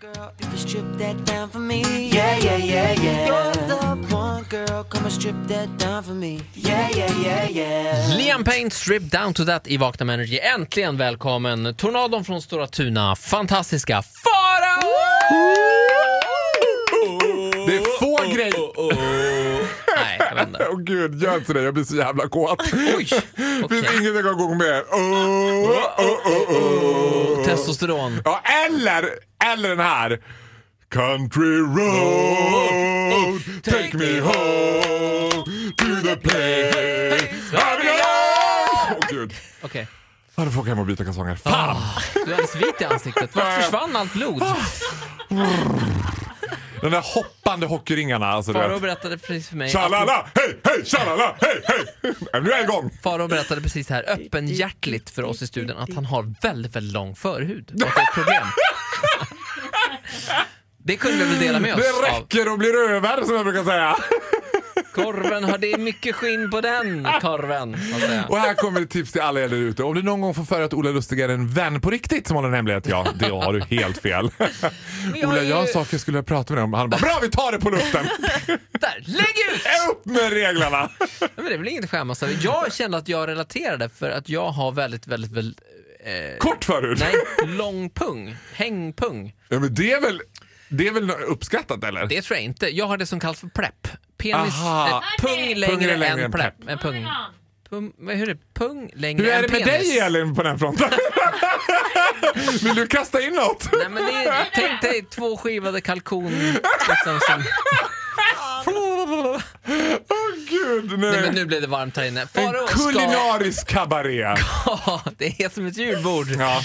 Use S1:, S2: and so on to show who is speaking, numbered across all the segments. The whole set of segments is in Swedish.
S1: girl, you can strip that down for me. Yeah, yeah, yeah, yeah. You're the one girl, come and strip that down for me. Yeah, yeah, yeah, yeah.
S2: Liam Payne, Strip Down To That i Vakna med Energy. Äntligen välkommen! Tornadon från Stora Tuna, fantastiska Farao!
S3: Det är få grejer. oh.
S2: Nej, jag vet inte.
S3: Åh gud, gör inte det. Jag blir så jävla kåt.
S2: Oj!
S3: Finns
S2: Okej.
S3: inget jag kan gå med. Oh, oh, oh, oh.
S2: Testosteron.
S3: Ja, eller, eller den här. Country road, take me home to the place I belong. Åh gud.
S2: Okej.
S3: Ja, då får jag åka hem och byta kalsonger. Fan!
S2: Du är alldeles vit i ansiktet. Vart försvann allt blod?
S3: De där hoppande hockeyringarna. Alltså, du
S2: Farao
S3: vet.
S2: berättade precis för mig...
S3: Tjalala, hej, hej, tjalala, hej, hej. Ja, Nu är jag igång.
S2: Farao berättade precis här öppenhjärtligt för oss i studion att han har väldigt, väldigt lång förhud. Och att det är ett problem. Det kunde vi väl dela med oss
S3: Det
S2: av.
S3: räcker och blir över som jag brukar säga.
S2: Korven har det är mycket skinn på den korven. så att säga.
S3: Och här kommer ett tips till alla er där ute. Om du någon gång får för dig att Ola Lustig är en vän på riktigt som håller en hemlighet. Ja, det har du helt fel.
S2: har
S3: Ola, jag har
S2: ju-
S3: en sak jag skulle vilja prata med dig om. Han bara, bra vi tar det på luften.
S2: Där, lägg ut!
S3: Upp med reglerna.
S2: Nej, Men det är väl inget att skämmas över. Jag kände att jag relaterade för att jag har väldigt, väldigt, väldigt,
S3: Kort förut.
S2: nej, lång pung. Hängpung.
S3: Ja, men det är väl, det är väl uppskattat eller?
S2: Det tror jag inte. Jag har det som kallas för plepp. Penis,
S3: Aha.
S2: eh, pung längre,
S3: Pungen är längre
S2: än
S3: än
S2: plepp.
S3: plepp.
S2: En pung. Pung, vad hur är det? Pung längre
S3: Hur är
S2: än
S3: det med
S2: penis.
S3: dig Elin på den fronten? Vill du kasta in något?
S2: Nej, men det är, tänk dig två skivade kalkon. Liksom, som...
S3: Gud,
S2: Nej,
S3: nej.
S2: men nu blev det varmt här inne. Farao
S3: En
S2: ska...
S3: kulinarisk kabaré.
S2: Ja, det är som ett julbord.
S3: Ja.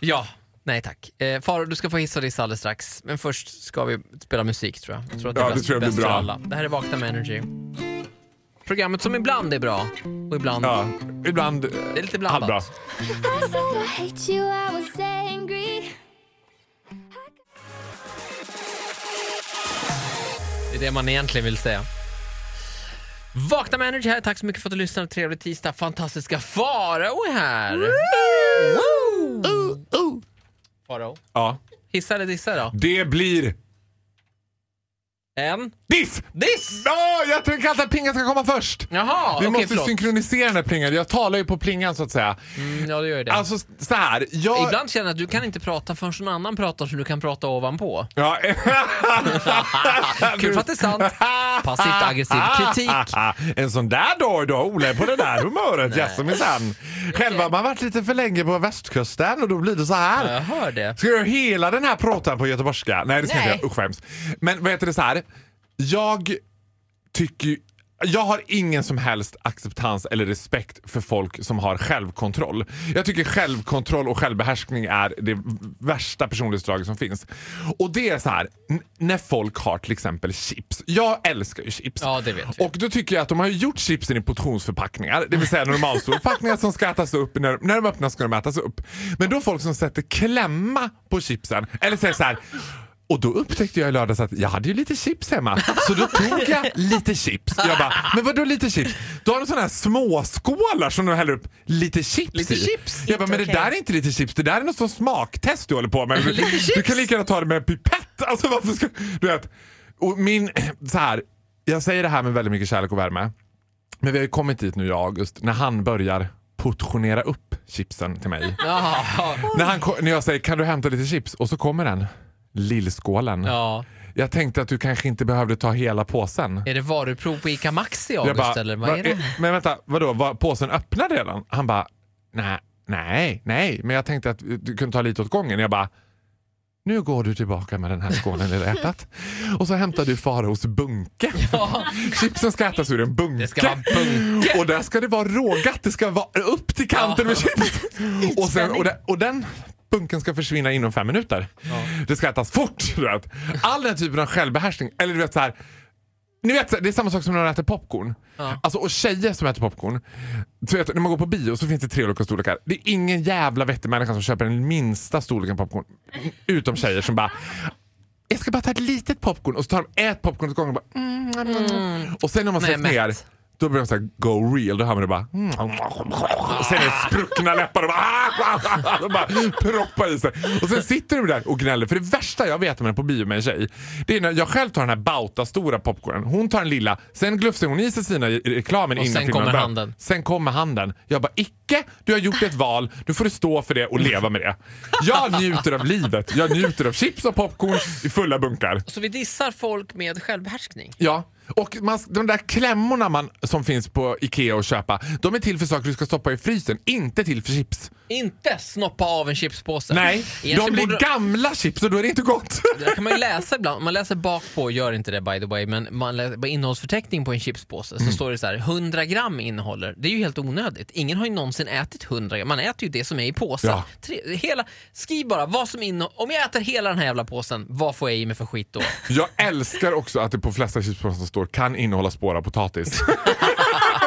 S2: Ja, nej tack. Eh, Farao, du ska få hissa och dissa alldeles strax. Men först ska vi spela musik tror jag. jag tror att det
S3: Ja,
S2: är
S3: det
S2: bäst,
S3: tror jag blir
S2: bäst
S3: bra.
S2: för alla. Det här är Vakna med Energy. Programmet som ibland är bra och ibland...
S3: ja, ibland
S2: Det är lite blandat.
S3: halvbra.
S4: I said I hate you, I was angry.
S2: Det är det man egentligen vill säga. Vakna med Energy här. Tack så mycket för att du lyssnade. Trevlig tisdag. Fantastiska Farao är här. Woo! Farao,
S3: Ja.
S2: hissa eller dissa då?
S3: Det blir
S2: En.
S3: diss!
S2: Diss!
S3: Ja, jag tänker alltid att plingan ska komma först.
S2: Jaha,
S3: Vi
S2: okej
S3: måste
S2: förlåt.
S3: synkronisera den här plingan. Jag talar ju på plingan så att säga.
S2: Mm, ja, det gör ju det.
S3: Alltså så här, jag...
S2: Ibland känner jag att du kan inte prata förrän någon annan pratar så du kan prata ovanpå.
S3: Ja.
S2: Kul för att det är sant. Passivt aggressiv kritik.
S3: en sån där dag idag, Ola är på det där humöret, jaså minsann. Själv har man varit lite för länge på västkusten och då blir det så här.
S2: Ja, jag hör det.
S3: Ska jag göra hela den här pratan på göteborgska? Nej, det ska
S2: Nej.
S3: jag inte göra. Usch, vad hemskt. Men vad heter det så här? Jag tycker ju- jag har ingen som helst acceptans eller respekt för folk som har självkontroll. Jag tycker självkontroll och självbehärskning är det värsta personlighetsdraget som finns. Och det är så här, n- när folk har till exempel chips. Jag älskar ju chips.
S2: Ja, det vet vi.
S3: Och då tycker jag att de har ju gjort chipsen i portionsförpackningar, det vill säga normalstora förpackningar som ska ätas upp. När, när de öppnas ska de ätas upp. Men då folk som sätter klämma på chipsen, eller säger så här. Och då upptäckte jag i lördags att jag hade ju lite chips hemma. Så då tog jag lite chips. Jag bara, men vadå lite chips? Då har de sådana här småskålar som de häller upp lite chips
S2: Lite
S3: i.
S2: chips?
S3: Jag bara, men det där är inte lite chips. Det där är något sorts smaktest du håller på med. Du, du kan lika gärna ta det med en pipett. Alltså varför ska... Du vet. Och min... Så här. Jag säger det här med väldigt mycket kärlek och värme. Men vi har ju kommit dit nu i August när han börjar portionera upp chipsen till mig.
S2: Jaha.
S3: när, han, ko- när jag säger kan du hämta lite chips och så kommer den. Lillskålen.
S2: Ja.
S3: Jag tänkte att du kanske inte behövde ta hela påsen.
S2: Är det varuprov på ICA Maxi i
S3: Jag
S2: August
S3: bara,
S2: eller vad
S3: "Va-
S2: är det?
S3: eh, Men vänta, vadå? Var påsen öppnad redan? Han bara, nej, nej, nej. Men jag tänkte att du kunde ta lite åt gången. Jag bara, nu går du tillbaka med den här skålen lilla hjärtat. Och så hämtar du Faraos bunke. Chipsen ska ätas ur en bunke.
S2: Det ska vara bunke.
S3: Och där ska det vara rågat. Det ska vara upp till kanten med chips. Och, sen, och, den, och den bunken ska försvinna inom fem minuter. Det ska ätas fort. Du vet. All den typen av självbehärskning. Eller du vet så här. Ni vet, så här, det är samma sak som när man äter popcorn. Alltså, och tjejer som äter popcorn. Så vet, du, när man går på bio så finns det tre olika storlekar. Det är ingen jävla vettig människa som köper den minsta storleken popcorn. Utom tjejer som bara jag ska bara ta ett litet popcorn och så tar de ett popcorn åt gången och bara mm, mm, mm. Och sen när man
S2: Nej,
S3: släppt ner
S2: mätt.
S3: Då blir de så här go real. Då hör man det bara... mm. Och sen är det spruckna läppar ah, och bara... Och bara proppar i sig. Och sen sitter du där och gnäller. För det värsta jag vet om en på bio med en tjej, det är när jag själv tar den här Bauta-stora popcornen. Hon tar den lilla. Sen glufsar hon i sig sina i i reklamen
S2: Och
S3: innan
S2: sen
S3: filmen
S2: kommer
S3: börjar.
S2: handen.
S3: Sen kommer handen. Jag bara, icke! Du har gjort ett val. Nu får du stå för det och leva med det. Jag njuter av livet. Jag njuter av chips och popcorn i fulla bunkar.
S2: Så vi dissar folk med självbehärskning.
S3: Ja, och man, de där klämmorna man, som finns på Ikea och köpa, de är till för saker du ska stoppa i frysen, inte till för chips.
S2: Inte snoppa av en chipspåse.
S3: Nej, de
S2: Egentligen
S3: blir
S2: borde-
S3: gamla chips och då är det inte gott.
S2: Det där kan man ju läsa ibland. Man läser bakpå, gör inte det by the way, men man läser på innehållsförteckning på en chipspåse så står det så här 100 gram innehåller. Det är ju helt onödigt. Ingen har ju någonsin ätit 100 gram. Man äter ju det som är i påsen.
S3: Ja.
S2: Tre, hela, skriv bara vad som innehåller. Om jag äter hela den här jävla påsen, vad får jag i mig för skit då?
S3: Jag älskar också att det på flesta chipspåsar som står kan innehålla spår av potatis.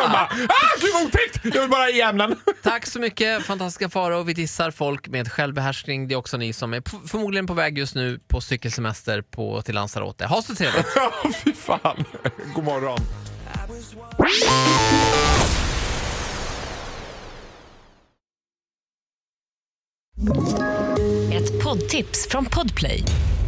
S3: Jag bara, ah, gud vad otäckt! Jag vill bara ha i ämnen.
S2: Tack så mycket fantastiska Faro. Vi dissar folk med självbehärskning. Det är också ni som är p- förmodligen på väg just nu på cykelsemester på, till Lanzarote. Ha så trevligt!
S3: Ja, fy fan. God morgon.
S5: Ett poddtips från Podplay.